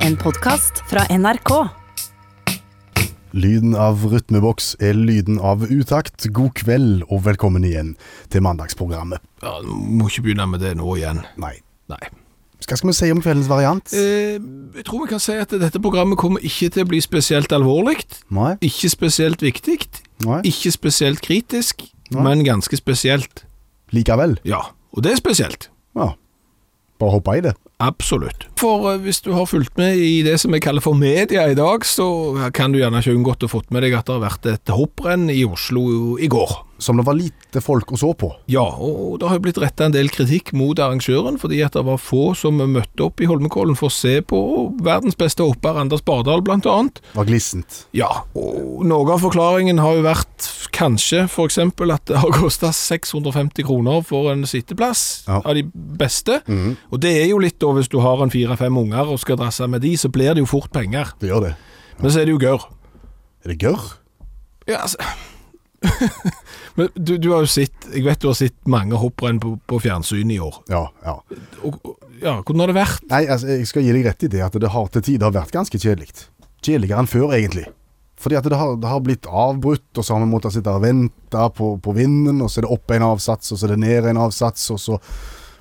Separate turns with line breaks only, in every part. En podkast fra NRK.
Lyden av rytmeboks er lyden av utakt. God kveld og velkommen igjen til mandagsprogrammet.
Ja, du Må ikke begynne med det nå igjen.
Nei,
Nei.
hva skal vi si om kveldens variant?
Eh, jeg tror vi kan si at dette programmet kommer ikke til å bli spesielt alvorlig.
Nei,
Ikke spesielt viktig.
nei,
Ikke spesielt kritisk,
Nei.
men ganske spesielt.
likevel.
Ja, og det er spesielt.
Ja, bare hoppe i det.
Absolutt. For eh, hvis du har fulgt med i det som vi kaller for media i dag, så kan du gjerne ikke unngått å fått med deg at det har vært et hopprenn i Oslo i går.
Som det var lite folk å så på.
Ja, og det har jo blitt retta en del kritikk mot arrangøren, fordi at det var få som møtte opp i Holmenkollen for å se på verdens beste hopper, Anders Bardal blant annet.
Det var glissent.
Ja, og noe av forklaringen har jo vært kanskje f.eks. at det har kosta 650 kroner for en sitteplass
Ja.
av de beste. Og det er jo litt da, hvis du har en fire-fem unger og skal drasse med de, så blir det jo fort penger.
Det gjør det.
Men så er det jo gørr.
Er det gørr?
Ja, altså Men du, du har jo sett Jeg vet du har sett mange hopprenn på, på fjernsyn i år.
Ja, ja.
og, og- ja, hvordan har det vært?
Nei, altså, jeg skal gi deg rett i det at det har til tider vært ganske kjedelig. Kjedeligere enn før, egentlig. Fordi at det har, det har blitt avbrutt, og så har vi måttet sitte og vente på, på vinden, og så er det opp en avsats, og så er det ned en avsats, og så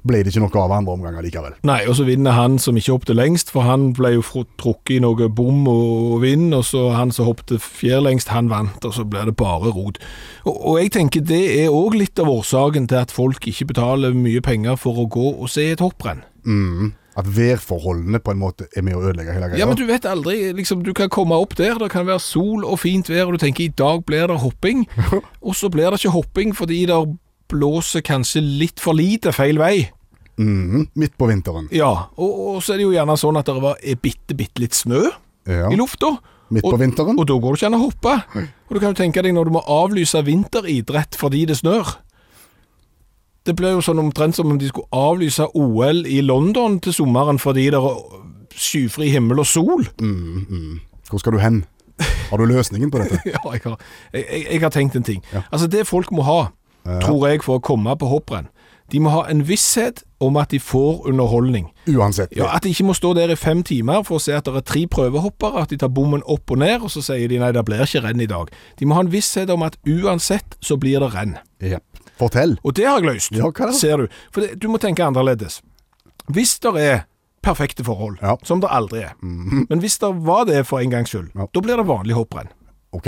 ble det ikke noe av andre omganger likevel.
Nei, og så vinner han som ikke hoppte lengst, for han ble jo fro- trukket i noe bom og vind, og så han som hoppte fjerlengst, han vant, og så blir det bare rot. Og, og jeg tenker det er òg litt av årsaken til at folk ikke betaler mye penger for å gå og se et hopprenn.
Mm. At værforholdene på en måte er med å ødelegge hele greia.
Ja, men du vet aldri, liksom, du kan komme opp der, det kan være sol og fint vær, og du tenker i dag blir det hopping, og så blir det ikke hopping fordi det blåser kanskje litt for lite feil vei.
Mhm, midt på vinteren.
Ja, og, og så er det jo gjerne sånn at det var er bitte, bitte litt snø
Ja.
i lufta.
Midt på
og,
vinteren.
og da går det ikke an å hoppe. Og du kan jo tenke deg når du må avlyse vinteridrett fordi det snør. Det ble jo sånn omtrent som om de skulle avlyse OL i London til sommeren fordi det er skyfri himmel og sol.
Mm, mm. Hvor skal du hen? Har du løsningen på dette?
Ja, jeg har, jeg, jeg- jeg har tenkt en ting. Altså Det folk må ha, tror jeg, for å komme på hopprenn, de må ha en visshet om at de får underholdning.
Uansett.
Ja, At de ikke må stå der i fem timer for å se at det er tre prøvehoppere, at de tar bommen opp og ned, og så sier de nei, det blir ikke renn i dag. De må ha en visshet om at uansett så blir det renn.
Ja. Fortell.
Og det har jeg løst,
Ja, hva da?
ser du. For det, du må tenke annerledes. Hvis det er perfekte forhold,
Ja. Mhm.
som det aldri er, men hvis det var det for en gangs skyld,
Ja.
da blir det vanlig hopprenn.
Ok.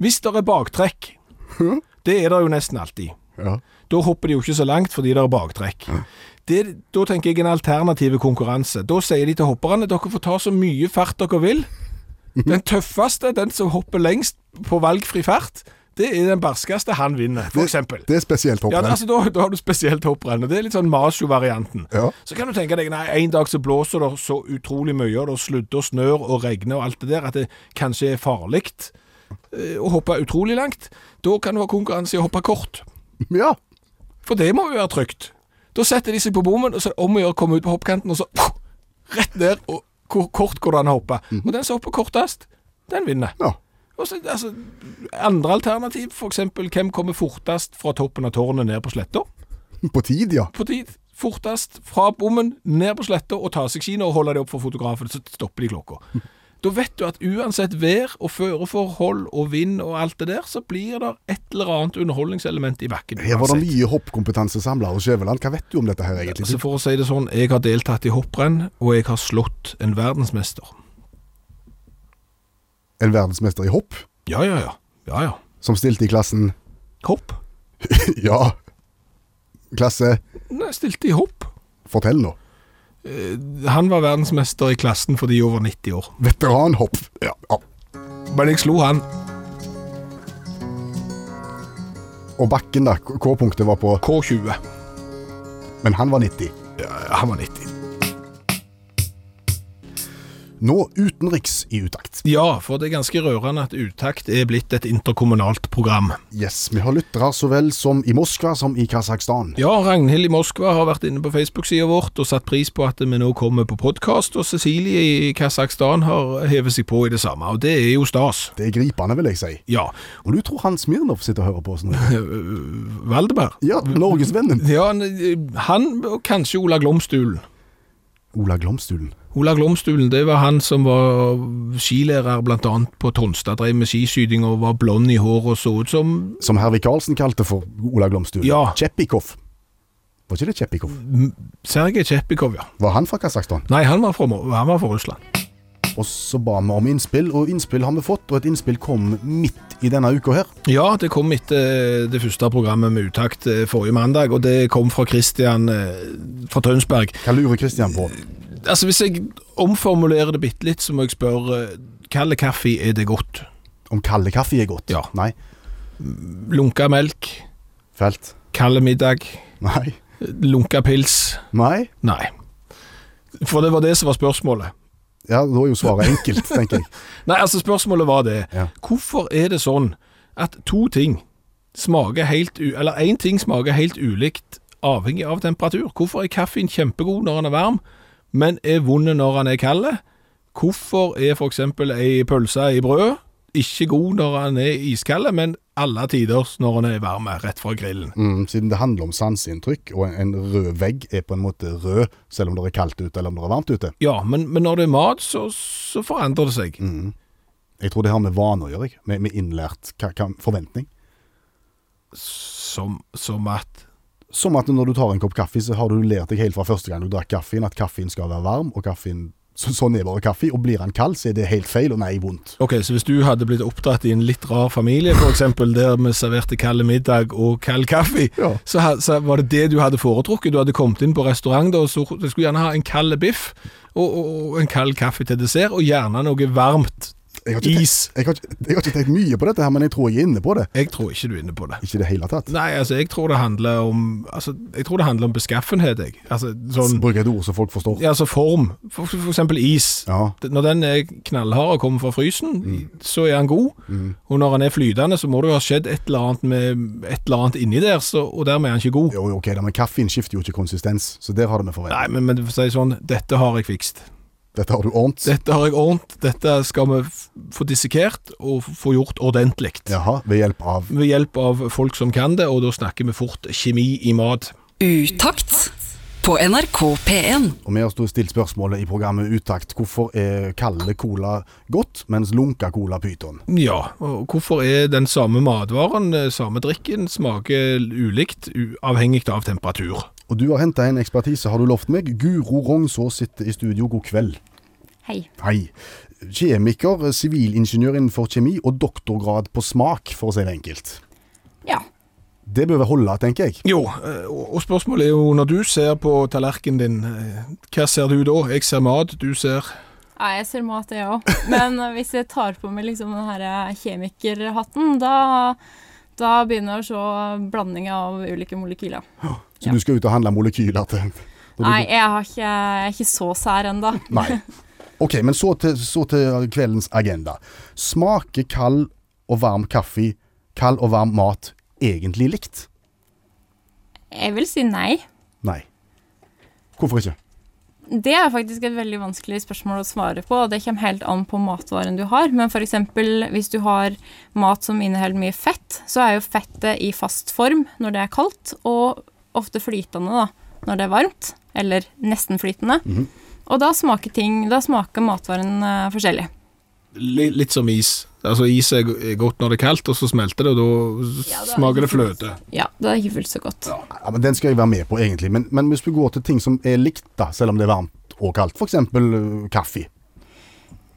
Hvis det er baktrekk, det er det jo nesten alltid.
Ja.
Da hopper de jo ikke så langt fordi det er baktrekk. Det, da tenker jeg en alternativ konkurranse. Da sier de til hopperne dere får ta så mye fart dere vil. Den tøffeste, den som hopper lengst på valgfri fart, det er den barskeste han vinner, for eksempel.
Det er spesielt
Ja,
hopprenn.
altså, da, da har du spesielt hopprenn, og det er litt sånn macho-varianten.
Ja.
Så kan du tenke deg, nei, en dag så blåser det så utrolig mye, og det sludder og snør og regner og alt det der, at det kanskje er farlig eh, å hoppe utrolig langt. Da kan du ha konkurranse i å hoppe kort.
ja.
For det må jo være trygt. Da setter de seg på bommen, og så er det om å gjøre å komme ut på hoppkanten, og så rett ned, og hvor kort går det an å hoppe. Og den som hopper kortest, den vinner.
ja.
Og så, altså, andre alternativ, for eksempel, hvem kommer fortest fra toppen av tårnet ned på sletta?
På tid, ja.
På tid, fortest fra bommen, ned på sletta, og ta seg kino og holde det opp for fotografen, så stopper de klokka. Da vet du at uansett vær og føreforhold og vind og alt det der, så blir det et eller annet underholdningselement i bakken.
Her var det
uansett.
mye hoppkompetanse samla hos Skjæveland. Hva vet du om dette her, egentlig?
Altså For å si det sånn, jeg har deltatt i hopprenn, og jeg har slått en verdensmester.
En verdensmester i hopp
Ja, ja, ja. Ja, ja.
som stilte i klassen
Hopp?
Ja. Klasse,
Nei, jeg stilte i hopp.
fortell nå.
Han var verdensmester i klassen for de over 90 år.
Veteranhopp. Ja. ja.
Men jeg slo han
Og bakken, da. K- K-punktet var på
K20.
Men han var 90.
Ja, han var 90.
Nå utenriks i utakt.
Ja, for det er ganske rørende at Utakt er blitt et interkommunalt program.
Yes, vi har lyttere så vel som i Moskva som i Kasakhstan.
Ja, Ragnhild i Moskva har vært inne på Facebook-sida vårt og satt pris på at vi nå kommer på podkast, og Cecilie i Kasakhstan har hevet seg på i det samme, og det er jo stas.
Det er gripende, vil jeg si.
Ja.
Og du tror han Smirnov sitter og hører på oss nå?
Valdemar?
Ja, Norgesvennen.
Ja, han, han og kanskje Ola Glomstulen.
Ola Glomstulen.
Ola Glomstulen, det var han som var skilærer blant annet på Tonstad, drev med skiskyting og var blond i håret og så ut som
Som Hervik Karlsen kalte for Ola Glomstuen.
Ja.
Tsjeppikov. Var ikke det Tsjeppikov?
Sergej Tsjepikov, ja.
Var han fra Kasakhstan?
Nei, han var fra, Mo- han var fra Russland.
Og så ba vi om innspill, og innspill har vi fått, og et innspill kom midt i denne uka her.
Ja, det kom etter eh, det første programmet med utakt eh, forrige mandag, og det kom fra Christian eh, fra Tønsberg.
Hva lurer Kristian på?
Altså, hvis jeg omformulerer det bitte litt, så må jeg spørre eh, Kald kaffe, er det godt?
Om kald kaffe er godt?
Ja.
Nei.
Lunka melk?
Felt?
Kald middag?
Nei.
Lunka pils?
Nei?
Nei. For det var det som var spørsmålet.
Ja, da er jo svaret enkelt, tenker jeg.
Nei, altså spørsmålet var det.
Ja.
Hvorfor er det sånn at to ting smaker helt u... Eller én ting smaker helt ulikt avhengig av temperatur? Hvorfor er kaffen kjempegod når den er varm, men er vond når den er kald? Hvorfor er f.eks. ei pølse i brød ikke god når den er iskald, men alle tiders når den er varm rett fra grillen?
Mm, siden det handler om sanseinntrykk, og en- en rød vegg er på en måte rød selv om det er kaldt ute eller om det er varmt ute.
Ja, men, men når det er mat, så, så forandrer det seg.
Jeg tror det har med vaner å gjøre, jeg. med, med innlært ka- ka- forventning.
Som, som at
Som at når du tar en kopp kaffe, så har du lært deg helt fra første gang du drakk kaffen at kaffen skal være varm, og kaffen så, sånn er bare kaffe, og blir han kald, så er det helt feil, og nei, vondt.
Ok, så hvis du hadde blitt oppdratt i en litt rar familie, for eksempel der vi serverte kald middag og kald kaffe,
Ja.
så, ha- så var det det du hadde foretrukket. Du hadde kommet inn på restaurant da, og så du skulle gjerne ha en kald biff og, og, og en kald kaffe til dessert, og gjerne noe varmt.
Jeg har ikke, tenkt-
Is.
Jeg har, ikke, jeg har ikke tenkt mye på dette, her, men jeg tror jeg er inne på det.
Jeg tror ikke du er inne på det.
Ikke i det hele tatt.
Nei, altså, jeg tror det handler om, altså, jeg tror det handler om beskaffenhet, jeg. Altså, sånn,
Bruk et ord som folk forstår.
ja, altså form. For, for eksempel is.
Ja.
Det- Når den er knallhard og kommer fra frysen, så er den god. Og når den er flytende, så må det jo ha skjedd et eller annet med et eller annet inni der, så, og dermed er den ikke god.
Jo, jo, ok, da, men kaffen skifter jo ikke konsistens, så der har det med forventning.
Nei, men, men for å si det sånn, dette har jeg fikst.
Dette har du ordent.
Dette har jeg ordent, dette skal vi f- få dissekert og f- få gjort ordentlig.
Jaha, ved hjelp av
Ved hjelp av folk som kan det, og da snakker vi fort kjemi i mat.
Utakt på NRK P1.
Og vi har stå- stilt spørsmålet i programmet Utakt hvorfor er kalde cola godt, mens lunka cola pyton?
Ja, og hvorfor er den samme matvaren, eh, samme drikken, smaker ulikt, u- avhengig av temperatur?
Og du har henta en ekspertise, har du lovt meg. Guro Rognsås sitter i studio, god kveld.
Hei.
Hei. Kjemiker, sivilingeniør innenfor kjemi og doktorgrad på smak, for å si det enkelt.
Ja.
Det bør vel holde, tenker jeg.
Jo, eh, og og spørsmålet er jo når du ser på tallerkenen din, eh, hva ser du da? Jeg ser mat, du ser
Ja, jeg ser mat, jeg òg. Men eh, hvis jeg tar på meg liksom den her eh, kjemikerhatten, da, da begynner jeg å se blanding av ulike molekyler.
Så
Ja.
du skal ut og handle molekyler til og du-
Nei, jeg, har ikke, jeg er ikke så sær ennå.
Nei. Ok, men så til, så til kveldens agenda. Smaker kald og varm kaffe, kald og varm mat egentlig likt?
Jeg vil si nei.
Nei. Hvorfor ikke?
Det er faktisk et veldig vanskelig spørsmål å svare på, og det kommer helt an på matvaren du har. Men f.eks. hvis du har mat som inneholder mye fett, så er jo fettet i fast form når det er kaldt, og ofte flytende da, når det er varmt, eller nesten flytende. Og da smaker, ting, da smaker matvaren eh, forskjellig.
li, litt som is. Altså is er go- er godt når det er kaldt, og så smelter det, og da
Ja, da-
smaker det fløte.
Ja, det er ikke fullt så godt.
Ja, men Den skal jeg være med på, egentlig. Men, men hvis vi går til ting som er likt, da, selv om det er varmt og kaldt, f.eks. kaffe.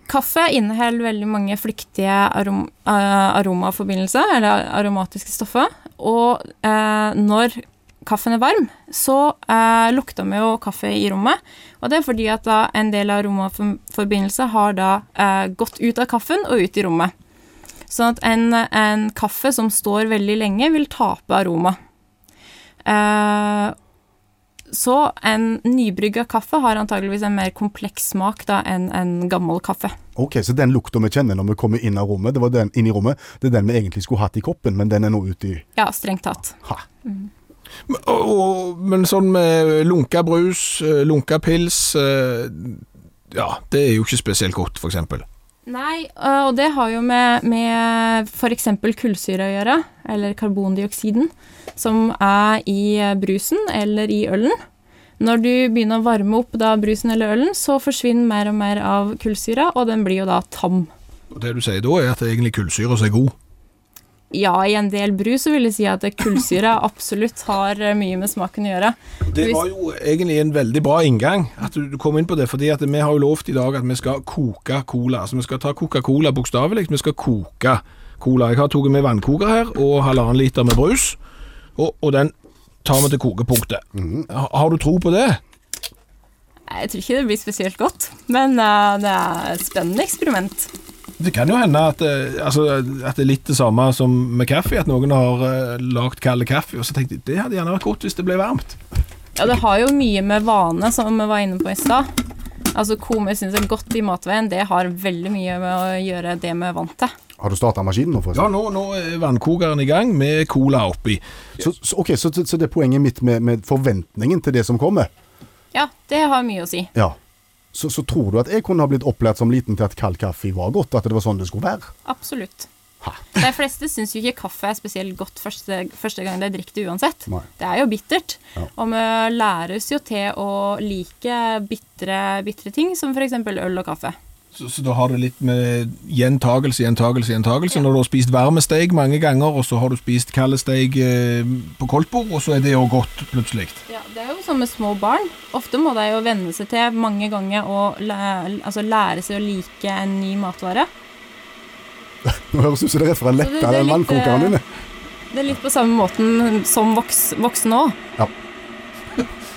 Kaffe inneholder veldig mange flyktige arom, eh, aromaforbindelser, eller aromatiske stoffer. Og eh, når kaffen er varm, så eh, lukter vi jo kaffe i rommet. Og det er fordi at da en del aromaforbindelser har da eh, gått ut av kaffen og ut i rommet. Sånn at en, en kaffe som står veldig lenge, vil tape aroma. Eh, så en nybrygga kaffe har antageligvis en mer kompleks smak da enn en gammel kaffe.
Ok, Så den lukta vi kjenner når vi kommer inn, av rommet, det var den, inn i rommet, det er den vi egentlig skulle hatt i koppen, men den er nå ute i
Ja, strengt tatt.
ha.
Men- Og, og, men sånn med lunka brus, eh, lunka pils eh, Ja, det er jo ikke spesielt godt, for eksempel.
Nei, øh, og det har jo med, med f.eks. kullsyre å gjøre, eller karbondioksiden, som er i brusen eller i ølen. Når du begynner å varme opp da brusen eller ølen, så forsvinner mer og mer av kullsyra, og den blir jo da tam.
Og Det du sier da, er at det er egentlig kullsyra som er god.
Ja, i en del brus så vil jeg si at kullsyra absolutt har eh, mye med smaken å gjøre.
Det var jo egentlig en veldig bra inngang at du du kom inn på det, fordi at vi har jo lovt i dag at vi skal koke cola. Altså vi skal ta Coca-Cola bokstavelig, vi skal koke cola. Jeg har tatt med vannkoker her og halvannen liter med brus, og, og den tar vi til kokepunktet. Har, har du tro på det?
Jeg tror ikke det blir spesielt godt, men eh, det er et spennende eksperiment.
Det kan jo hende at, eh, altså, at det er litt det samme som med kaffe, at noen har eh, lagd kald kaffe, og så tenkte de det hadde gjerne vært godt hvis det ble varmt.
Ja, det har jo mye med vane, som vi var inne på i stad. Altså, Komer syns er godt i matveien. Det har veldig mye med å gjøre det vi er vant til.
Har du starta maskinen nå,
Ja,
forresten?
nå, nå er vannkokeren i gang med cola oppi.
Så, så, ok, så, så det er poenget mitt med, med forventningen til det som kommer.
Ja, det har mye å si.
Ja. Så, så tror du at jeg kunne ha blitt opplært som liten til at kald kaffe var godt, at det var sånn det skulle være?
Absolutt. De fleste syns jo ikke kaffe er spesielt godt første, første gang de drikker det uansett.
Nei.
Det er jo bittert.
Ja.
Og vi læres jo til å like bitre, bitre ting, som f.eks. øl og kaffe.
Så, så da har du litt med gjentagelse, gjentagelse, gjentagelse. Når du har spist varme steig mange ganger, og så har du spist kalde steig eh, på koldtbord, og så er det jo godt plutselig.
Ja, Det er jo som med små barn. Ofte må de jo venne seg til mange ganger å læ- altså lære seg å like en ny matvare.
Nå høres det ut som det er rett fra en
Så det- det
lekka
er
den
litt,
vannkokeren din.
eh, Det er litt på samme måten som voks, voksne òg.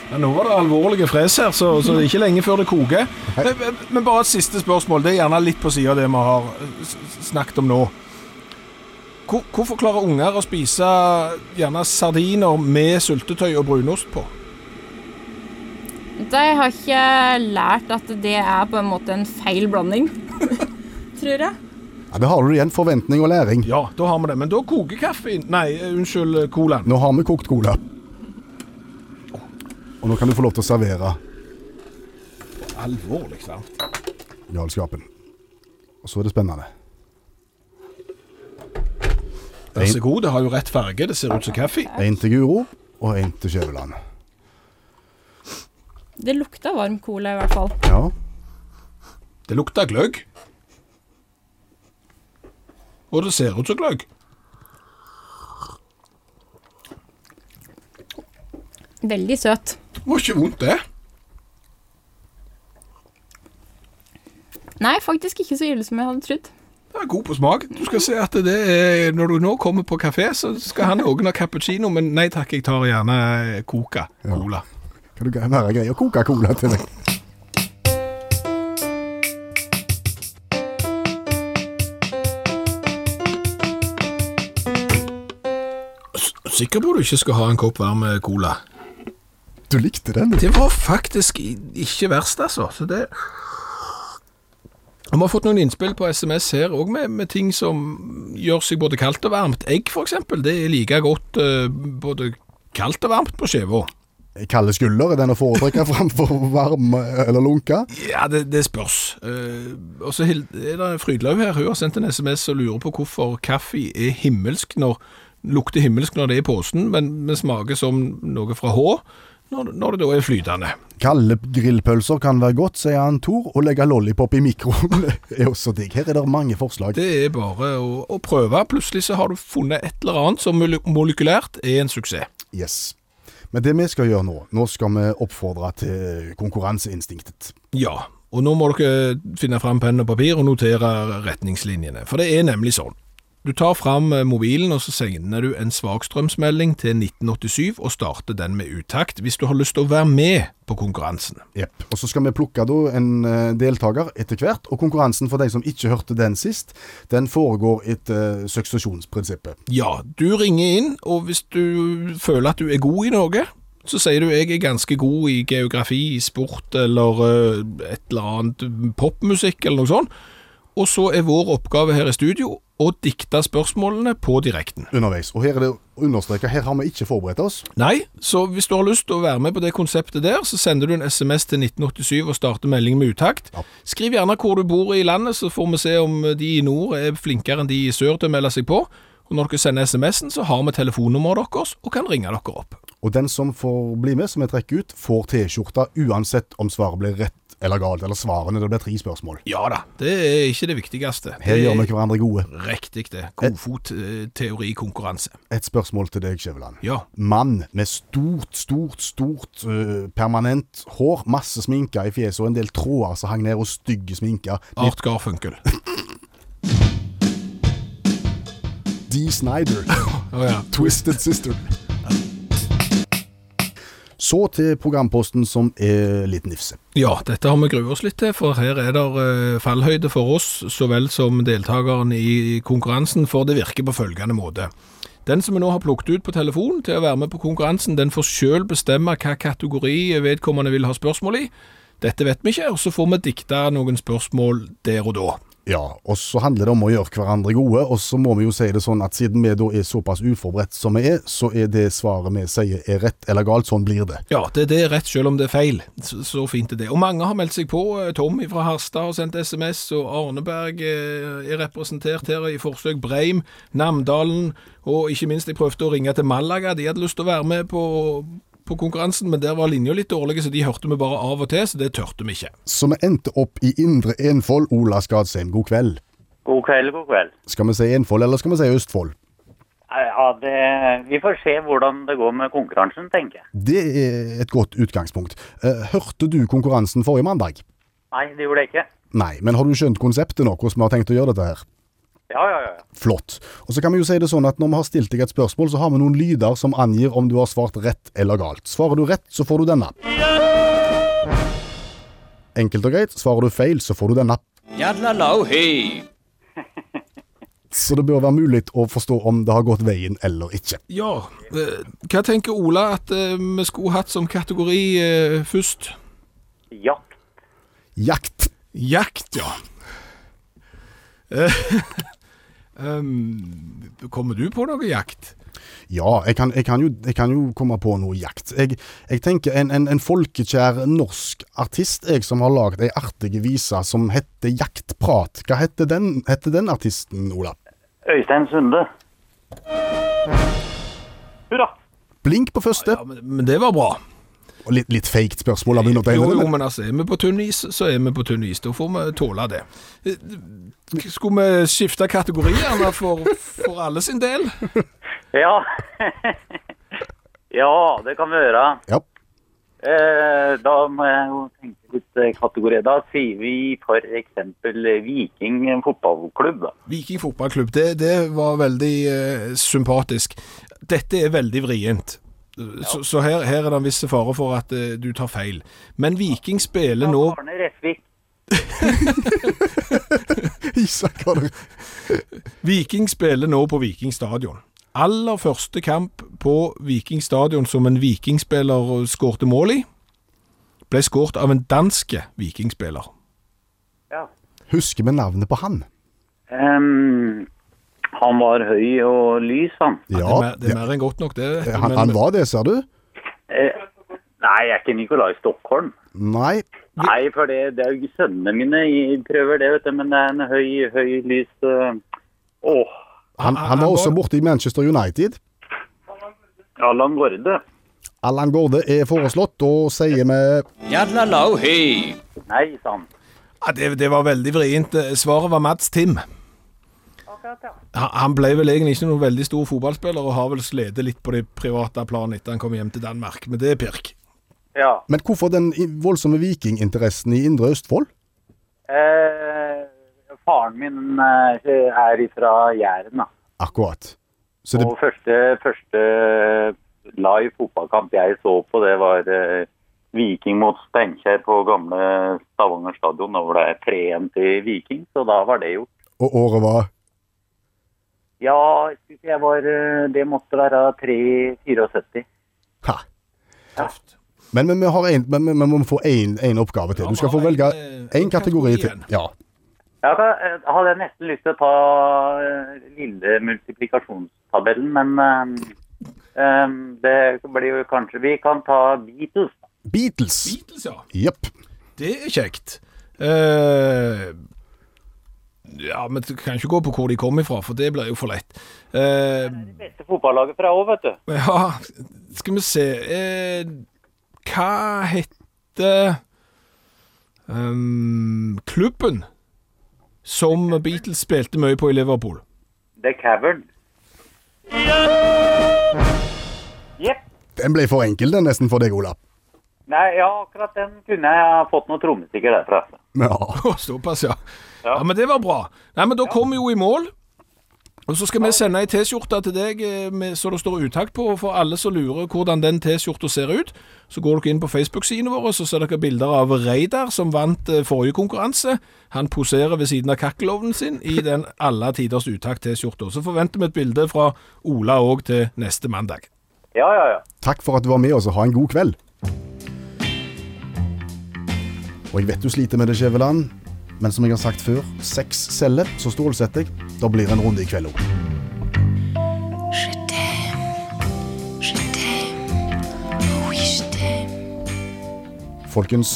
Men nå var det alvorlige fres her, så, så det er ikke lenge før det koker. Men, men- men bare et siste spørsmål. Det er gjerne litt på sida av det vi har eh, s- s- snakket om nå. Hvor, hvorfor klarer unger å spise gjerne sardiner med syltetøy og brunost på?
De har ikke lært at det er på en måte en feil blanding. Tror jeg.
Ja, det har du igjen. Forventning og læring.
Ja, da har vi det. Men da koker kaffen Nei, eh, unnskyld, colaen.
Nå har vi kokt cola. Og nå kan du få lov til å servere
Alvorlig sant.
galskapen. Og så er det spennende.
Vær så god, det har jo rett farge. Det ser ut som kaffe.
Én til Guro, og én til Skjæveland.
Det lukta varm cola i hvert fall.
Ja.
Det lukter gløgg. Og det ser ut som gløgg.
Veldig søt.
Det var ikke vondt, det.
Nei, faktisk ikke så ille som jeg hadde trodd.
Det er god på smak. Du skal se at det er Når du nå kommer på kafé, så skal han noen ha cappuccino, men nei takk, jeg tar gjerne Coca Cola.
Kan du gre- være grei å koke cola til meg?
Sikker på du ikke skal ha en kopp varm eh, cola?
Du likte den, du.
Det var faktisk i- ikke verst, altså. Så det Og Vi har fått noen innspill på SMS her òg med, med ting som gjør seg både kaldt og varmt. Egg, f.eks., det er like godt eh, både kaldt og varmt på skiva.
Kalde skulder er den å foretrekke framfor varm eller lunka.
Ja, det, det spørs. Eh, og så Hild- er det Frydlaug her. Hun har sendt en SMS og lurer på hvorfor kaffe er himmelsk når lukter himmelsk når det er i posen, men, men smaker som noe fra H når, når det da er flytende.
Kalde grillpølser kan være godt, sier han Tor. Å legge lollipop i mikroen er også digg. Her er det mange forslag.
Det er bare å, å prøve. Plutselig så har du funnet et eller annet som mole- molekylært er en suksess.
Yes. Men det vi skal gjøre nå, nå skal vi oppfordre til konkurranseinstinktet.
Ja, og nå må dere finne fram penn og papir og notere retningslinjene, for det er nemlig sånn. Du tar fram eh, mobilen og så sender du en svakstrømsmelding til 1987 og starter den med utakt hvis du har lyst til å være med på konkurransen.
Jep. Og så skal vi plukke da en eh, deltaker etter hvert, og konkurransen for deg som ikke hørte den sist, den foregår etter eh, suksesjonsprinsippet.
Ja, du ringer inn, og hvis du føler at du er god i noe, så sier du jeg er ganske god i geografi, i sport eller eh, et eller annet popmusikk eller noe sånt. Og så er vår oppgave her i studio å dikte spørsmålene på direkten.
underveis. Og her er det understreket, her har vi ikke forberedt oss.
Nei, så hvis du har lyst til å være med på det konseptet der, så sender du en SMS til 1987 og starter melding med utakt.
Ja.
Skriv gjerne hvor du bor i landet, så får vi se om de i nord er flinkere enn de i sør til å melde seg på. Og når dere sender SMS-en, så har vi telefonnummeret deres og kan ringe dere opp.
Og den som får bli med, som jeg trekker ut, får T-skjorta uansett om svaret blir rett eller galt, eller svarene. Det blir tre spørsmål.
Ja da, det er ikke det viktigste.
Her
Det
gjør vi
er
hverandre gode.
Riktig det. Godfot-teorikonkurranse.
Et spørsmål til deg, Skjæveland.
Ja.
Mann med stort, stort, stort eh, permanent hår, masse sminke i fjeset og en del tråder som hang ned, og stygge sminker.
Art Garfunkel.
D. Snyder.
Å ja.
Twisted Sister. Så til programposten som er litt nifse.
ja, dette har vi grua oss litt til, for her er det fallhøyde for oss så vel som deltakeren i konkurransen, for det virker på følgende måte. Den som vi nå har plukket ut på telefon til å være med på konkurransen, den får sjøl bestemme hva kategori vedkommende vil ha spørsmål i. Dette vet vi ikke, og så får vi dikte noen spørsmål der og da.
Ja, og så handler det om å gjøre hverandre gode, og så må vi jo si det sånn at siden vi da er såpass uforberedt som vi er, så er det svaret vi sier er rett eller galt, sånn blir det.
Ja, det, det er rett selv om det er feil. Så, så fint er det. Og mange har meldt seg på. eh, Tom fra Harstad har sendt SMS, og Arneberg eh, er representert her i forsøk. Breim, Namdalen, og ikke minst jeg prøvde å ringe til Malaga. De hadde lyst til å være med på, på konkurransen, men der var linja litt dårlig, så de hørte vi bare av og til, så det tørte vi ikke.
Så vi endte opp i Indre Enfold, Ola Skadsheim, god kveld.
God kveld, god kveld.
Skal vi si Enfold, eller skal vi si Østfold?
Eh, Ja, det, vi får se hvordan det går med konkurransen, tenker jeg.
Det er et godt utgangspunkt. Eh, Hørte du konkurransen forrige mandag?
Nei, det gjorde jeg ikke.
Nei, men har du skjønt konseptet nå, hvordan vi har tenkt å gjøre dette her?
Ja, ja, ja.
Flott. Og så kan vi jo si det sånn at når vi har stilt deg et spørsmål, så har vi noen lyder som angir om du har svart rett eller galt. Svarer du rett, så får du denne. Enkelt og greit. Svarer du feil, så får du denne. Så det bør være mulig å forstå om det har gått veien eller ikke.
Ja, eh, hva tenker Ola at eh, vi skulle hatt som kategori eh, først?
Jakt.
Jakt.
Jakt, ja. Eh, ehm, kommer du på noe jakt?
Ja, jeg kan, jeg kan, jo, jeg kan jo komme på noe jakt. Jeg, jeg tenker en, en, en folkekjær norsk artist jeg som har lagd ei artig vise som heter Jaktprat. Hva heter den, heter den artisten, Ola?
Øystein Sunde. Hurra!
Blink på første.
Ja, men, men det var bra.
Og litt, litt feigt spørsmål av
Jo,
undertegnede.
jo,
men-
men altså, er vi på tynn is, så er vi på tynn is. Da får vi tåle det. Eh, Skulle vi skifte kategorier da, for, for alle sin del?
Ja. ja, det kan vi gjøre.
Ja.
Eh, da må jeg jo tenke litt eh, kategori. Da sier vi for eksempel eh, Viking fotballklubb, da.
Viking fotballklubb, det, det var veldig eh, sympatisk. Dette er veldig vrient. Så, så her, her er det en viss fare for at eh, du tar feil. Men Viking spiller nå
Arne Resvik.
Isak har det.
Viking spiller nå på Viking stadion. Aller første kamp på Viking stadion som en vikingspiller skårte mål i, ble skåret av en danske vikingspiller.
Ja.
Husker vi navnet på han?
Em, han var høy og lys, han.
Ja,
det, er mer, det
ja.
er mer enn godt nok, det.
Han, han var det, ser du?
Eh, nei, jeg er ikke Nikolai Stockholm.
Nei.
Nei, for det, det er jo ikke sønnene mine i- prøver det, vet du. Men det er en høy, høy lys eh, Åh,
Han, han var også borte i Manchester United.
Allan Gårde.
Allan Gårde er foreslått, og sier vi
Nei, sann.
Ja, det, det var veldig vrient. Svaret var Mads Tim. Han han ble vel egentlig ikke noen veldig stor fotballspiller, og har vel slitt litt på det private planet etter han kom hjem til Danmark, men det er pirk.
Ja.
Men hvorfor den i- voldsomme vikinginteressen i Indre Østfold?
Eh, faren min eh, er ifra Jæren, da.
Akkurat. Så det,
Og første, første live fotballkamp jeg så på, det var eh, Viking mot Steinkjer på gamle Stavanger stadion. Da var det 3-1 til Viking, så da var det gjort.
og året var
Ja, jeg synes jeg var, eh, det måtte være 3-74.
Ha. Men, men vi har en, men, men, men vi må få én oppgave til.
Ja,
Du skal
vi
få
har
velge
en, eh,
én kategori
kategori
til.
igjen.
Ja.
Jeg kan- eh, hadde jeg nesten lyst til å ta eh, lille multiplikasjonstabellen, men eh, eh, det blir jo kanskje Vi kan ta Beatles.
Beatles.
Beatles, ja.
Jepp.
Det er kjekt. Eh, ja, Ja, men du kan ikke gå på hvor de kom ifra, for det blir jo for lett. Eh,
Beste fotballaget fra òg, vet du.
ja, skal vi se eh, Hva heter ehm, klubben som Beatles spilte mye på i Liverpool?
The Cavern. Jepp.
Den ble for enkel, den nesten, for deg, Olav.
Nei, ja, akkurat den kunne jeg ha fått noen trommestikker derfra.
Ja.
Å, Såpass, ja. ja. Men det var bra. Nei, men da kom vi jo i mål. Og så skal vi sende ei T-skjorte til deg eh, med, så det står utakt på. Og for alle som lurer hvordan den T-skjorta ser ut, så går dere inn på Facebook-sidene våre, så ser dere bilder av Reidar som vant eh, forrige konkurranse. Han poserer ved siden av kakkelovnen sin i den alle tiders utakt-T-skjorta. Så forventer vi et bilde fra Ola òg til neste mandag.
Ja, ja, ja.
Takk for at du var med oss, og ha en god kveld. Og jeg vet du sliter med det, Skjæveland, men som jeg har sagt før, seks celler, så stålsetter jeg. Da blir det en runde i kveld òg.
Je t'aime, je t'aime, oui je t'aime.
Folkens,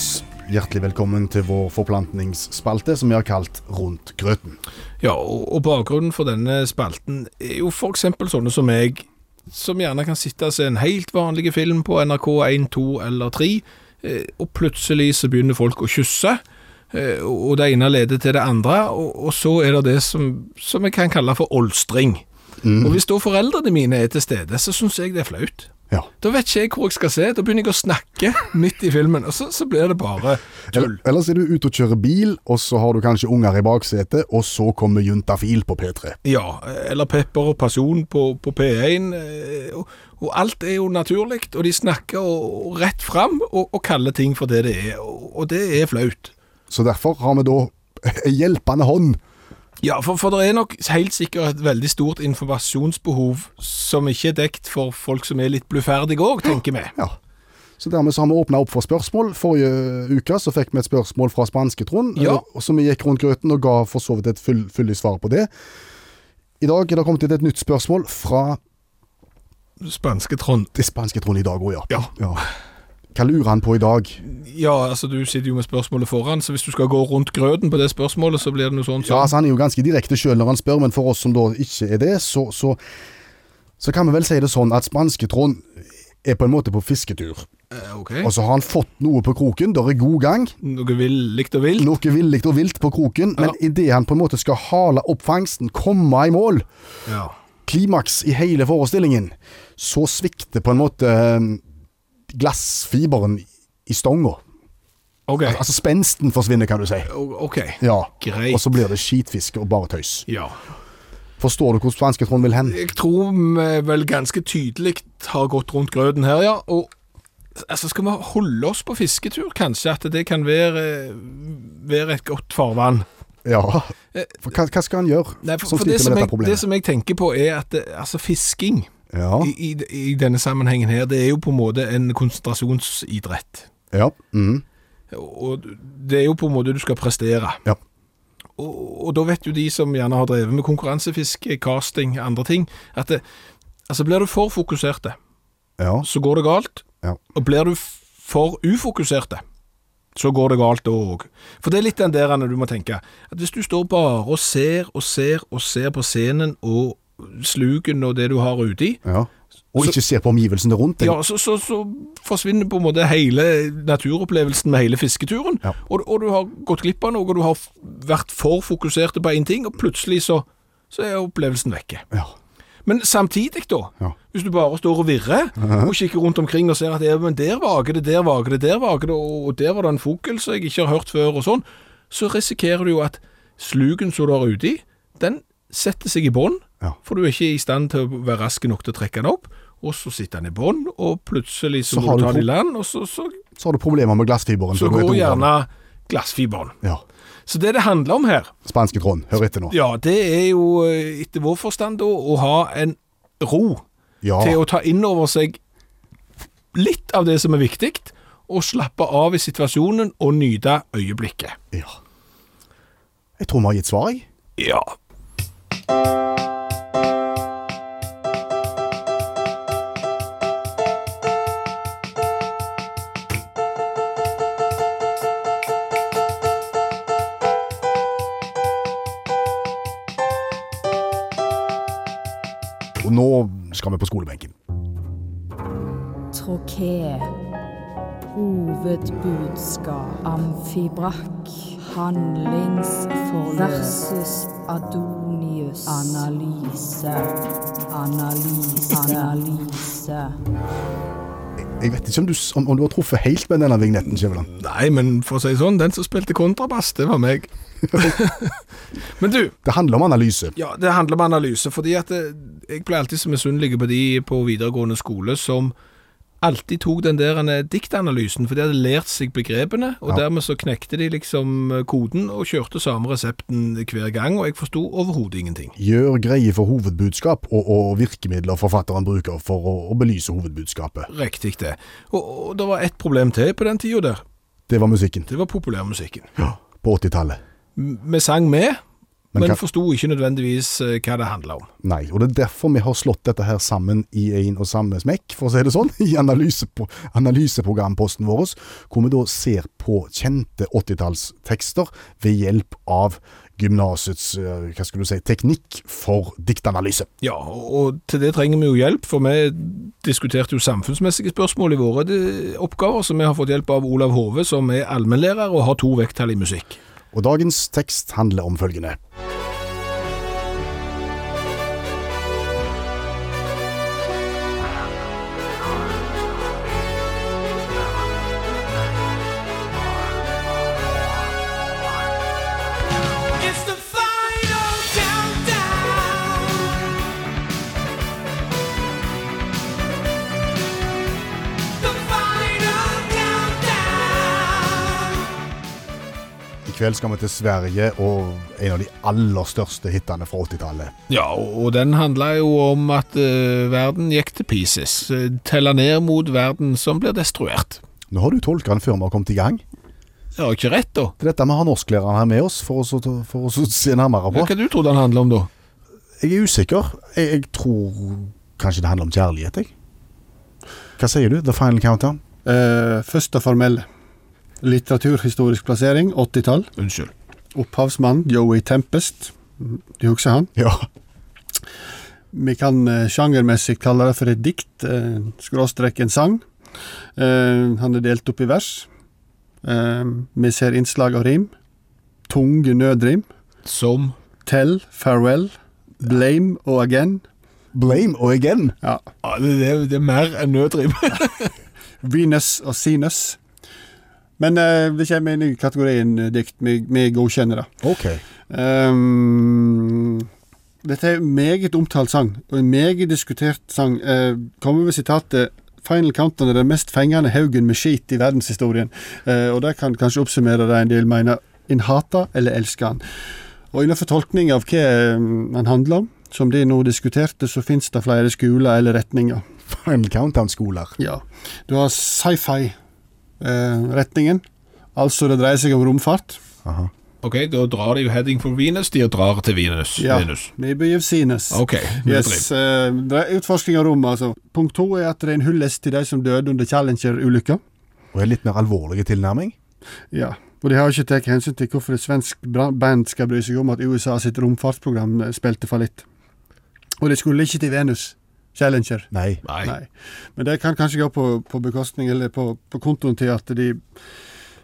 hjertelig velkommen til vår forplantningsspalte, som vi har kalt Rundt grøten.
Ja, og, og bakgrunnen for denne spalten er jo for eksempel sånne som meg, som gjerne kan sitte og se en helt vanlig film på NRK1, 2 eller 3, eh, og plutselig så begynner folk å kysse, eh, og og det ene leder til det andre, og, og så er det det som, som jeg kan kalle for olstring. Og hvis da foreldrene mine er til stede, så synes jeg det er flaut.
Ja.
Da vet ikke jeg hvor jeg skal se, da begynner jeg å snakke midt i filmen, og så, så blir det bare tull.
Eller, ellers er du ute og kjører bil, og så har du kanskje unger i baksetet, og så kommer Juntafil på P3.
Ja, eller pepper og pasjon på, på P1. eh, Og, og alt er jo naturlig, og de snakker og, og rett fram og, og kaller ting for det det er, og, og det er flaut.
Så derfor har vi da en hjelpende hånd.
Ja, for, for det er nok helt sikkert et veldig stort informasjonsbehov som ikke er dekt for folk som er litt bluferdige òg, tenker vi.
Ja. Så dermed så har vi åpna opp for spørsmål. Forrige uke så fikk vi et spørsmål fra spanske-Trond,
Ja.
eh, som vi gikk rundt grøten og ga for så vidt et full, fyldig svar på det. I dag er det kommet inn et nytt spørsmål fra
Spanske Trond.
det spanske Trond i dag òg, ja.
Ja.
Hva lurer han på i dag?
Ja, altså du sitter jo med spørsmålet foran, så hvis du skal gå rundt grøten på det spørsmålet, så blir det noe sånt
Ja,
som
altså Han er jo ganske direkte sjøl når han spør, men for oss som da ikke er det, så, så, så kan vi vel si det sånn at spanske Trond er på en måte på fisketur.
Eh, Ok,
Og så har han fått noe på kroken, der er god gang.
noe villig og vilt.
Noe villig og vilt på kroken, men i idet han på en måte skal hale opp fangsten, komme i mål,
Ja.
klimaks i hele forestillingen, så svikter på en måte eh, glassfiberen i stonga.
Ok,
Altså spensten forsvinner, kan du si.
O- ok.
Ja.
Greit.
Og så blir det skitfiske og bare tøys.
Ja.
Forstår du hvor spanske Trond vil hen?
Jeg tror vi vel ganske tydelig har gått rundt grøten her, ja. Og altså, skal vi holde oss på fisketur, kanskje? At det kan være, være et godt farvann?
Ja. For hva, hva skal han gjøre
Eh, Nei, for,
som
for det,
Sånn sliter
som
med dette
jeg, det
problemet?
som jeg tenker på, er at det, altså, fisking
Ja.
i, i, i denne sammenhengen her, det er jo på en måte en konsentrasjonsidrett.
ja. Mm.
Og det er jo på en måte du skal prestere.
Ja.
Og, og da vet jo de som gjerne har drevet med konkurransefiske, casting, andre ting, at det, altså blir du for fokuserte,
ja.
så går det galt.
Ja.
Og blir du f- for ufokuserte, så går det galt da òg. For det er litt den der Anne, du må tenke. At hvis du står bare og ser og ser og ser på scenen og sluken og det du har uti,
ja. Og
Så-
ikke ser på omgivelsene rundt deg.
ja, så, så, så forsvinner på en måte hele naturopplevelsen med hele fisketuren.
Ja.
Og, og du har gått glipp av noe, og du har f- vært for fokuserte på én ting, og plutselig så, så er opplevelsen vekke.
Ja.
Men samtidig, da,
Ja.
hvis du bare står og virrer og kikker rundt omkring og ser at ja, men der vager det, der vager det, der vager det, og og der var det en fugl som jeg ikke har hørt før, og sånn, så risikerer du jo at sluken som du har uti, den setter seg i bånn,
Ja.
for du er ikke i stand til å være rask nok til å trekke den opp, og så sitter den i bånn, og plutselig så,
Så
må
har
du
du
ta den i
pro-
land, og så, så,
Så har du problemer med glassfiberen.
så
du vet
går
ordet.
gjerne glassfiberen.
ja.
Så det det handler om her,
Spanske Trond, hør etter nå.
ja, det er jo eh, etter vår forstand da, å ha en ro
Ja.
til å ta inn over seg litt av det som er viktig, og slappe av i situasjonen og nyte øyeblikket.
ja. Jeg tror vi har gitt svar, jeg.
Ja.
Og nå skal vi på skolebenken.
Trokee. Hovedbudskap. Amfibrakk. Handlingsforløs. Versus Adonius. Analyse. Analyse. Analyse.
Jeg vet ikke om du, s- om, om du har truffet helt med denne vignetten, Skjæveland.
Nei, men for å si det sånn, den som spilte kontrabass, det var meg. men du,
Det handler om analyse.
Ja, det handler om analyse, fordi at eh, jeg ble alltid så misunnelig på de på videregående skole som alltid tok den der eh, diktanalysen, for de hadde lært seg begrepene, og
Ja.
dermed så knekte de liksom eh, koden og kjørte samme resepten hver gang, og jeg forsto overhodet ingenting.
Gjør greie for hovedbudskap og, og virkemidler forfatteren bruker for å, å belyse hovedbudskapet.
Riktig det. Og, og det var ett problem til på den tida der.
Det var musikken
Det var populærmusikken.
på 80-tallet.
M- Vi sang med,
Men
men,
hva-
forsto ikke nødvendigvis eh, hva det handla om.
Nei, og det er derfor vi har slått dette her sammen i en og samme smekk, for å si det sånn, i analysepo analyseprogramposten vår, hvor vi da ser på kjente 80-tallstekster ved hjelp av gymnasets eh, hva skulle du si, teknikk for diktanalyse.
Ja, og til det trenger vi jo hjelp, for vi diskuterte jo samfunnsmessige spørsmål i våre de- oppgaver, så vi har fått hjelp av Olav Hove, som er allmennlærer og har to vekttall i musikk.
Og dagens tekst handler om følgende.
It's the final countdown. The final countdown.
I kveld skal vi til Sverige og en av de aller største hitene fra 80-tallet.
Ja, og og den handla jo om at eh, verden gikk til pieces. eh, Tella ned mot verden som blir destruert.
Nå har du tolka den før vi har kommet i gang.
Jeg har ikke rett, da.
Det er dette vi har norsklæreren her med oss for å, så- for å så se nærmere på.
Hva du trodde den handla om, da?
Jeg er usikker. Jeg, jeg tror kanskje det handler om kjærlighet, jeg. Hva sier du? The Final Countdown?
Eh, første formelle. Litteraturhistorisk plassering, 80-tall.
Unnskyld.
Opphavsmann Joey Tempest. Du husker han?
Ja.
Vi kan eh, sjangermessig kalle det for et dikt, eh, skråstrek en sang. Eh, han er delt opp i vers. Eh, vi ser innslag av rim. Tunge nødrim.
Som
Tell, farewell, blame og again.
Blame og again.
Ja.
ja, det, det, det er mer enn nødrim.
Venus og Sinus. Men eh, det kommer en ny kategori inn, eh, dikt. Vi, vi godkjenner det.
Ok.
Ehm, dette er en meget omtalt sang, og en meget diskutert sang. Eh, kommer med sitatet 'Final Countdown er den mest fengende haugen med skit i verdenshistorien'. Eh, og det kan kanskje oppsummere det en del mener. En hater eller elsker han. Og innenfor tolkning av hva eh, han handler om, som de nå diskuterte, så fins det flere skoler eller retninger.
Final Countdown-skoler.
Ja. Du har sci-fi-retningen. altså det dreier seg om romfart.
ok, da drar de jo heading for Venus. De drar til Venus.
Ja,
Venus.
vi begiv sinus.
Ok, nødrim.
Yes, eh, det er utforsking av rom, altså. Punkt to er at det er en hyllest til de som døde under Challenger-ulykka.
Og en litt mer alvorlig tilnærming.
Ja. Og de har jo ikke tatt hensyn til hvorfor et svensk bra- band skal bry seg om at USA sitt romfartsprogram eh, spilte fallitt. Og de skulle ikke til Venus. Challenger.
Nei.
Nei.
Nei. Men det kan kanskje gå på, på bekostning, eller på, på kontoen til at de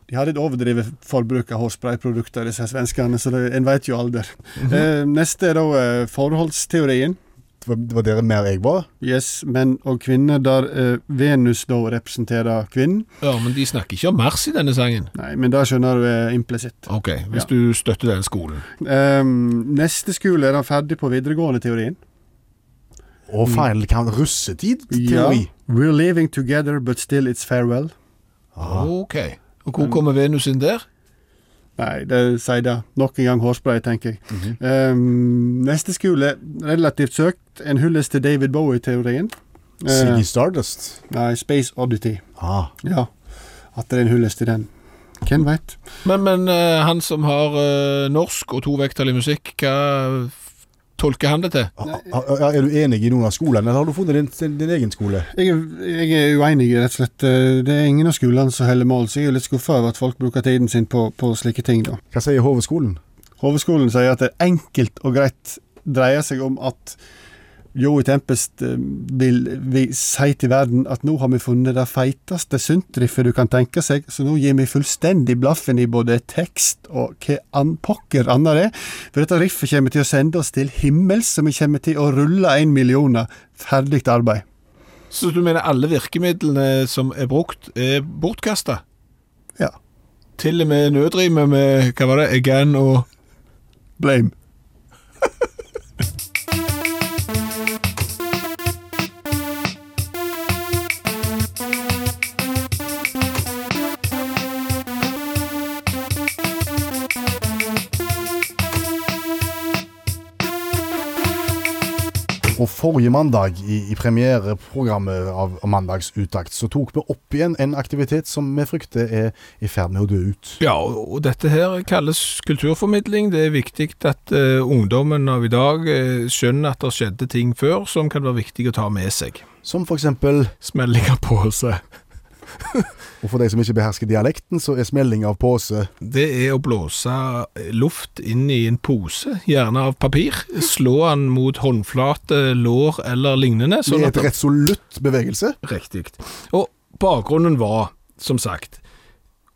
de hadde et overdrevet forbruk av hårsprayprodukter, disse svenskene, så det, en vet jo alder. eh, neste er da eh, forholdsteorien.
Det var- det var der mer jeg var.
Yes, menn og kvinner, der eh, Venus da representerer kvinnen.
Ja, men de snakker ikke om Mars i denne sangen.
Nei, men det skjønner du er implisitt.
Ok, hvis
Ja.
du støtter den skolen.
Ehm, neste skole er da ferdig på videregående-teorien.
Og Final Count russetid-teori.
We're living together, but still it's farewell.
Ok. Og hvor kommer Venus inn der?
Nei, det sier det. Nok en gang hårspray, tenker jeg. Ehm, neste skole, relativt søkt, en hyllest til David Bowie-teorien. Eh,
Siggy Stardust.
nei, Space Oddity.
Ah.
Ja, at det er en hyllest til den. Hvem veit?
Men, men eh, han som har eh, norsk og to vekttall i musikk, hva f- tolker han det til?
Ah, ah, ah, Er du enig i noen av skolene, eller har du funnet din, din, din egen skole?
Jeg er, jeg er uenig, rett og slett. Eh, Det er ingen av skolene som holder mål, så jeg er litt skuffa over at folk bruker tiden sin på, på slike ting, da.
Hva sier HV-skolen?
Hovedskolen sier at det enkelt og greit dreier seg om at Joey Tempest eh, vil, vil si til verden at nå har vi funnet det feiteste syntriffet du kan tenke seg, så nå gir vi fullstendig blaffen i både tekst og hva an pokker annet det er. For dette riffet kommer til å sende oss til himmels, så vi kommer til å rulle en millioner. Ferdig arbeid.
Så du mener alle virkemidlene som er brukt, er bortkasta?
Ja.
Til og med nødrimet med hva var det, Egan og
Blame.
Og forrige mandag, i, i premiereprogrammet av av Mandags utakt, så tok vi opp igjen en aktivitet som vi frykter er i ferd med å dø ut.
Ja, og og dette her kalles kulturformidling. Det er viktig at eh, ungdommen av i dag eh, skjønner at det skjedde ting før som kan være viktig å ta med seg.
Som for eksempel,
Smelling av pose.
og for de som ikke behersker dialekten, så er smelling av pose
Det er å blåse eh, luft inn i en pose, gjerne av papir. Slå den mot håndflate, lår eller lignende. sånn
med
at
et resolutt bevegelse.
Riktig. Og bakgrunnen var, som sagt,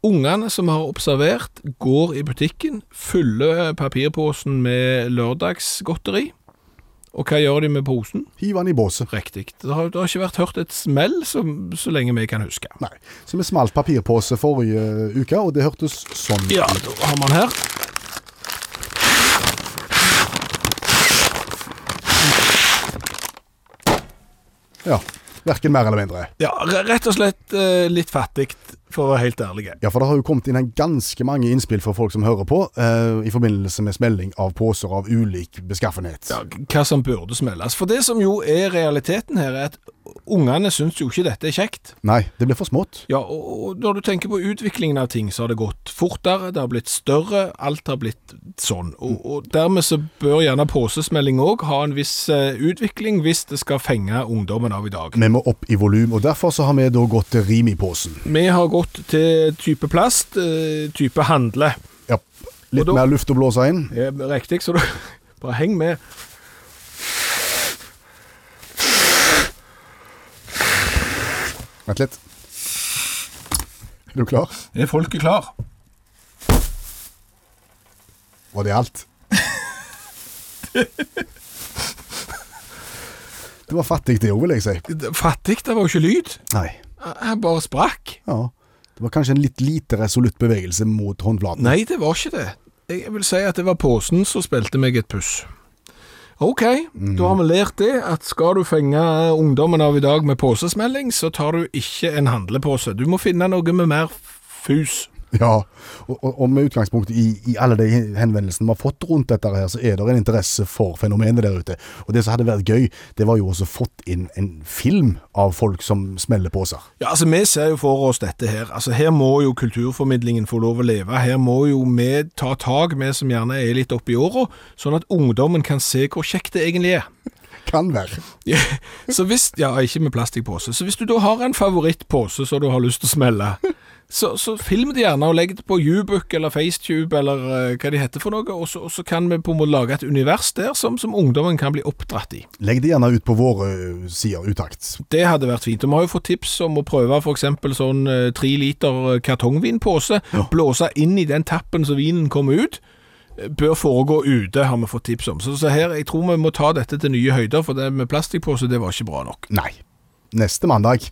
ungene som har observert, går i butikken, fyller eh, papirposen med lørdagsgodteri. Og hva gjør de med posen?
Hiv han i båset.
Riktig. Det har, det har ikke vært hørt et smell som, så lenge vi kan huske.
Nei. Så vi smalt papirpose forrige uke, og det hørtes sånn
Ja, da har man her.
Ja. Verken mer eller mindre.
Ja, re- rett og slett eh, litt fattig, for å være helt ærlig.
Ja, for det har jo kommet inn en ganske mange innspill fra folk som hører på, eh, i forbindelse med smelling av poser av ulik beskaffenhet.
Ja, hva som burde smelles. For det som jo er realiteten her, er at ungene syns jo ikke dette er kjekt.
Nei, det blir for smått.
Ja, og og når du tenker på utviklingen av ting, så har det gått fortere, det har blitt større, alt har blitt sånn. Og, og dermed så bør gjerne posesmelding òg ha en viss eh, utvikling, hvis det skal fenge ungdommen av i dag.
Vi må opp i volum, og derfor så har vi da gått til Rimi-posen.
Vi har gått til type plast, eh, type handle.
Ja. Litt
Og da-
mer luft å blåse inn.
Det er riktig, så du bare heng med.
Vent litt. Er du klar?
Er folket klar?
Var det alt? Det var fattig det òg, vil jeg si.
Fattig, det var jo ikke lyd.
Nei.
Han bare sprakk.
Ja. Det var kanskje en litt lite resolutt bevegelse mot håndflaten.
Nei, det var ikke det. Jeg vil si at det var posen som spilte meg et puss. Ok, da har vi lært det, at skal du fenge eh, ungdommen av i dag med posesmelding, så tar du ikke en handlepose. Du må finne noe med mer fus.
Ja, og, og, og med utgangspunkt i, i alle de henvendelsene vi har fått rundt dette her, så er det en interesse for fenomenet der ute. Og det som hadde vært gøy, det var jo også fått inn en film av folk som smeller poser.
Ja, altså Vi ser jo for oss dette her. Altså Her må jo kulturformidlingen få lov å leve. Her må jo vi ta tak, vi som gjerne er litt oppi åra, sånn at ungdommen kan se hvor kjekt det egentlig er.
Kan være.
Ja, så hvis, ja, ikke med plastikkpose. Så hvis du da har en favorittpose som du har lyst til å smelle, så, så film det gjerne og legg det på Ubook eller FaceTube eller eh, hva de heter for noe, og så, og så kan vi på en måte lage et univers der som, som ungdommen kan bli oppdratt i.
Legg det gjerne ut på våre eh, sider, utakt.
Det hadde vært fint. Og vi har jo fått tips om å prøve f.eks. sånn eh, tre liter eh, kartongvinpose. Blåse inn i den tappen som vinen kommer ut. Eh, Bør foregå ute, har vi fått tips om. Så, så her, jeg tror vi må ta dette til nye høyder, for det med plastikkpose, det var ikke bra nok.
Nei. Neste mandag.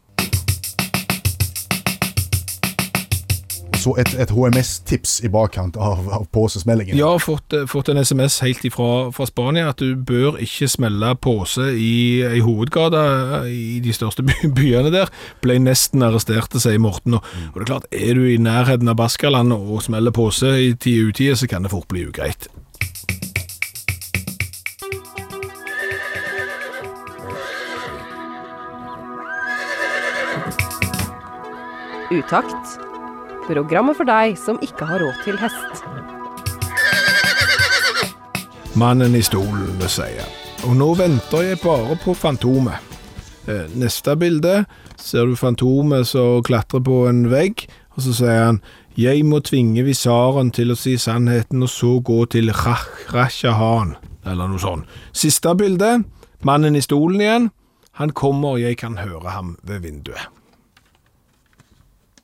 Så et, et HMS-tips i bakkant av, av posesmellingen.
Jeg har fått, eh, fått en SMS helt ifra fra Spania at du bør ikke smelle pose i ei hovedgate eh, i de største by byene der. Ble nesten arrestert, sier Morten. Og, og det er klart, er du i nærheten av Baskaland og smeller pose i tide og utide, så kan det fort bli ugreit.
Utakt. Programmet for deg som ikke har råd til hest.
Mannen i stolen, vil si. Og nå venter jeg bare på Fantomet. Eh, Neste bilde ser du Fantomet som klatrer på en vegg, og så sier han Jeg må tvinge visaren til å si sannheten, og så gå til Rach- Rashahan, eller noe sånt. Siste bilde, Mannen i stolen igjen. Han kommer, jeg kan høre ham ved vinduet.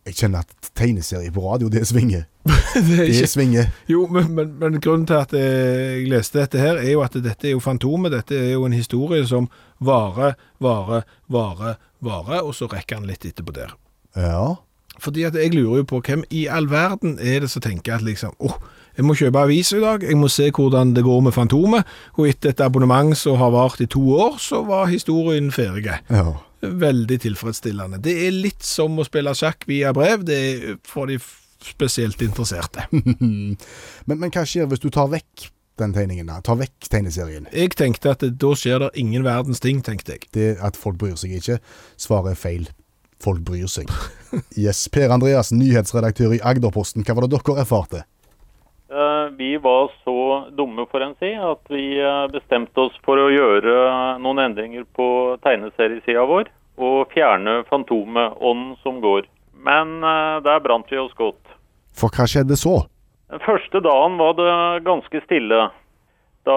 Jeg kjenner at tegneserie på radio, det svinger.
Det er
Det
ikke...
svinger.
Jo, men, men, men grunnen til at eh, jeg leste dette her, er jo at dette er jo Fantomet. Dette er jo en historie som varer, varer, varer, varer, og så rekker han litt etterpå der.
Ja.
Fordi at jeg lurer jo på hvem i all verden er det som tenker at liksom åh, jeg må kjøpe avis i dag, jeg må se hvordan det går med Fantomet, og etter et abonnement som har vart i to år, så var historien ferdig.
ja.
Veldig tilfredsstillende. Det er litt som å spille sjakk via brev, det er for de f- spesielt interesserte.
Men, men hva skjer hvis du tar vekk den tegningen? da? Tar vekk tegneserien?
Jeg tenkte at da skjer det ingen verdens ting, tenkte jeg.
Det At folk bryr seg ikke? Svaret er feil. Folk bryr seg. Yes. Per Andreassen, nyhetsredaktør i Agderposten, hva var det dere erfarte?
Eh, Vi var så dumme, får en si, at vi eh, bestemte oss for å gjøre noen endringer på tegneseriesida vår, og fjerne Fantomet, ånden som går. Men eh, der brant vi oss godt.
For hva skjedde så?
Den første dagen var det ganske stille. Da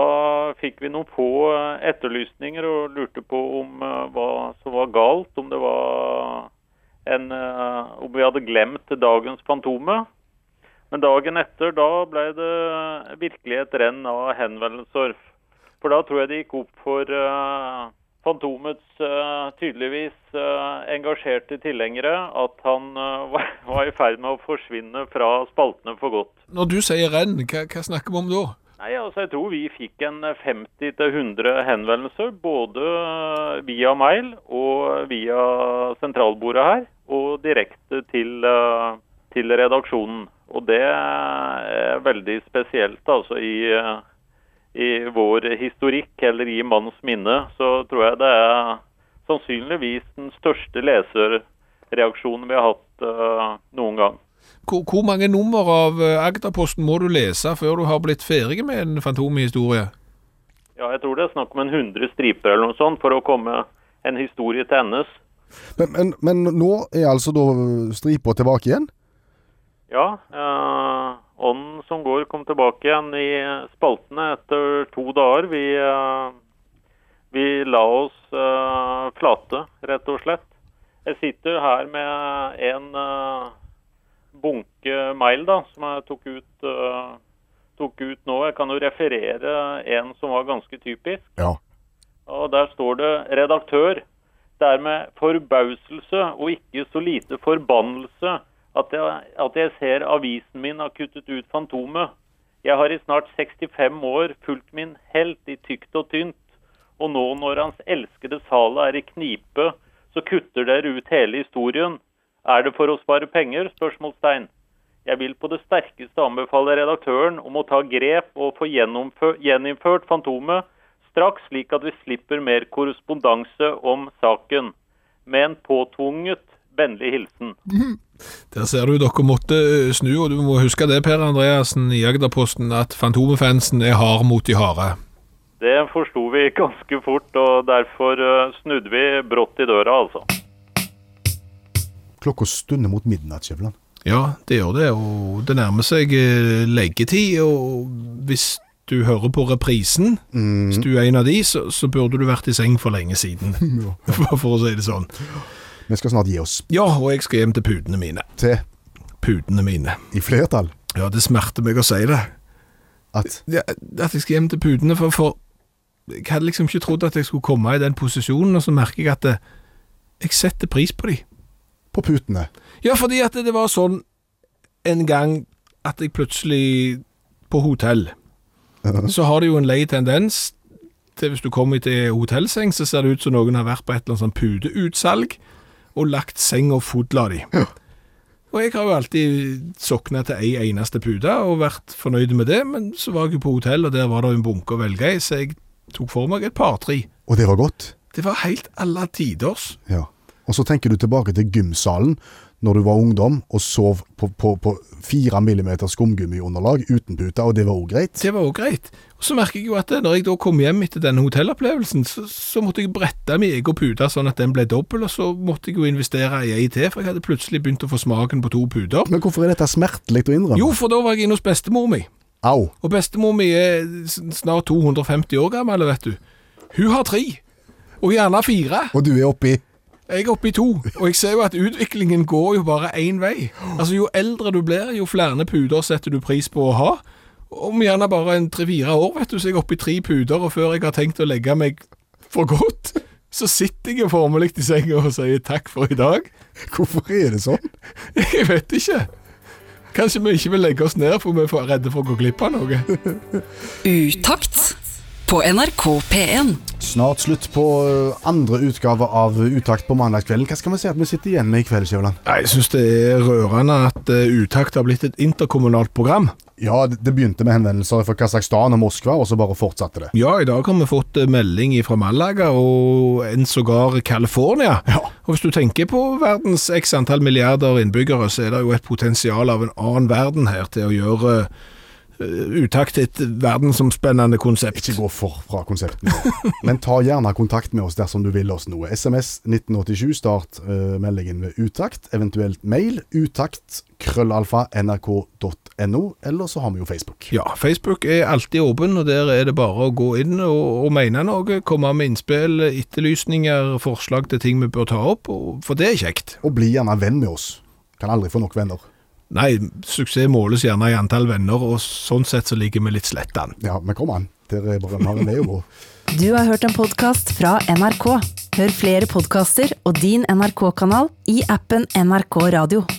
fikk vi noen få eh, etterlysninger og lurte på om eh, hva som var galt, om det var en, eh, om vi hadde glemt dagens Fantome. Men dagen etter, da ble det virkelig et renn av henvendelser. For da tror jeg det gikk opp for eh, Fantomets eh, tydeligvis eh, engasjerte tilhengere at han eh, var, var i ferd med å forsvinne fra spaltene for godt.
Når du sier renn, hva, hva snakker vi om da?
Nei, altså Jeg tror vi fikk en eh, 50-100 henvendelser, både eh, via mail og via sentralbordet her, og direkte til, eh, til redaksjonen. Og det eh, er veldig spesielt, altså. I, eh, I vår historikk, eller i manns minne, så tror jeg det er sannsynligvis den største leserreaksjonen vi har hatt eh, noen gang.
Hvor, hvor mange nummer av eh, Agderposten må du lese før du har blitt ferdig med en fantomhistorie?
Ja, jeg tror det er snakk om en 100 striper eller noe sånt for å komme en historie til endes.
Men, men, men nå er altså da stripa tilbake igjen?
Ja, eh, ånden som går kom tilbake igjen i spaltene etter to dager. Vi, eh, vi la oss eh, flate, rett og slett. Jeg sitter her med en eh, bunke mail da, som jeg tok ut, eh, tok ut nå. Jeg kan jo referere en som var ganske typisk.
Ja.
Og der står det 'redaktør'. Det er med forbauselse og ikke så lite forbannelse at jeg, at jeg ser avisen min har kuttet ut Fantomet. Jeg har i snart 65 år fulgt min helt i tykt og tynt, og nå når hans elskede Sala er i knipe, så kutter dere ut hele historien. Er det for å spare penger? spørsmålstegn. Jeg vil på det sterkeste anbefale redaktøren om å ta grep og få gjennomfø- gjeninnført Fantomet straks, slik at vi slipper mer korrespondanse om saken. Med en påtvunget vennlig hilsen.
Der ser du dere måtte eh, snu, og du må huske det, Per Andreassen i Agderposten, at Fantomefansen er hard mot de harde.
Det forsto vi ganske fort, og derfor eh, snudde vi brått i døra, altså.
Klokka stunder mot midnatt, Skjæveland.
Ja, det gjør det, og det nærmer seg eh, leggetid, og hvis du hører på reprisen, hvis du er en av de, så, så burde du vært i seng for lenge siden, for for å si det sånn.
Vi skal snart gi oss
Ja, og jeg skal hjem til pudene mine.
til,
Pudene mine.
i flertall,
Ja, det smerter meg å si det.
at
Ja, At jeg skal hjem til pudene, for, for jeg hadde liksom ikke trodd at jeg skulle komme i den posisjonen, og så merker jeg at eh, jeg setter pris på de.
på putene
Ja, fordi at det var sånn en gang at jeg plutselig på hotell, så har det jo en lei tendens til hvis du kommer til hotellseng, så ser det ut som noen har vært på et eller annet sånn pudeutsalg og lagt seng og fodla de. Og jeg har jo alltid sokna til ei eneste pute og vært fornøyd med det, men så var jeg jo på hotell, og der var det jo en bunke å velge i, så jeg tok for meg et par-tre.
Og det var godt.
Det var helt alle tiders.
Ja. Og så tenker du tilbake til gymsalen når du var ungdom og sov på, på, på 4 mm skumgummiunderlag uten puter, og det var òg greit.
Det var jo greit. Og Så merker jeg jo at når jeg da kom hjem etter denne hotellopplevelsen, så, så måtte jeg brette min egen pute sånn at den ble dobbel, og så måtte jeg jo investere i ei til, for jeg hadde plutselig begynt å få smaken på to puter.
Men hvorfor er dette smertelig å innrømme?
Jo, for da var jeg inne hos bestemor mi,
Au.
og bestemor mi er s- snart 250 år gammel, vet du. Hun har tre. Og gjerne fire.
Og du er oppe i
Jeg er oppe i to, og jeg ser jo at utviklingen går jo bare én vei. Altså, Jo eldre du blir, jo flere puder setter du pris på å ha. Om gjerne bare en tre-fire år, vet du, så er jeg oppe i tre puder, og før jeg har tenkt å legge meg for godt, så sitter jeg jo formelig i senga og sier takk for i dag.
Hvorfor er det sånn?
Jeg vet ikke. Kanskje vi ikke vil legge oss ned, for vi er for redde for å gå glipp av noe.
Utakt på NRK P1.
Snart slutt på eh, andre utgave av Utakt på mandagskvelden. Hva skal vi si at vi sitter igjen med i kveld, Skjæveland?
Nei, Jeg syns det er rørende at eh, Utakt har blitt et interkommunalt program.
Ja, det det begynte med henvendelser fra Kasakhstan og Moskva, og så bare fortsatte det.
Ja, i dag har vi fått eh, melding fra Malaga og en sågar California. Og hvis du tenker på verdens x antall milliarder innbyggere, så er det jo et potensial av en annen verden her til å gjøre eh, Utakt til et verdensomspennende konsept.
Ikke gå for fra konseptene. Men ta gjerne kontakt med oss dersom du vil oss noe. SMS 1987, start eh, meldingen med utakt, eventuelt mail utakt krøllalfa nrk.no, eller så har vi jo Facebook.
Ja, Facebook er alltid åpen, og der er det bare å gå inn og, og mene noe. Komme med innspill, etterlysninger, forslag til ting vi bør ta opp, og, for det er kjekt.
Og bli gjerne venn med oss. Kan aldri få nok venner.
Nei, suksess måles gjerne i antall venner, og sånn sett så ligger vi litt slett an.
Ja, men kom an. Dere er bare har en vei å gå.
Du har hørt en podkast fra NRK. Hør flere podkaster og din NRK-kanal i appen NRK Radio.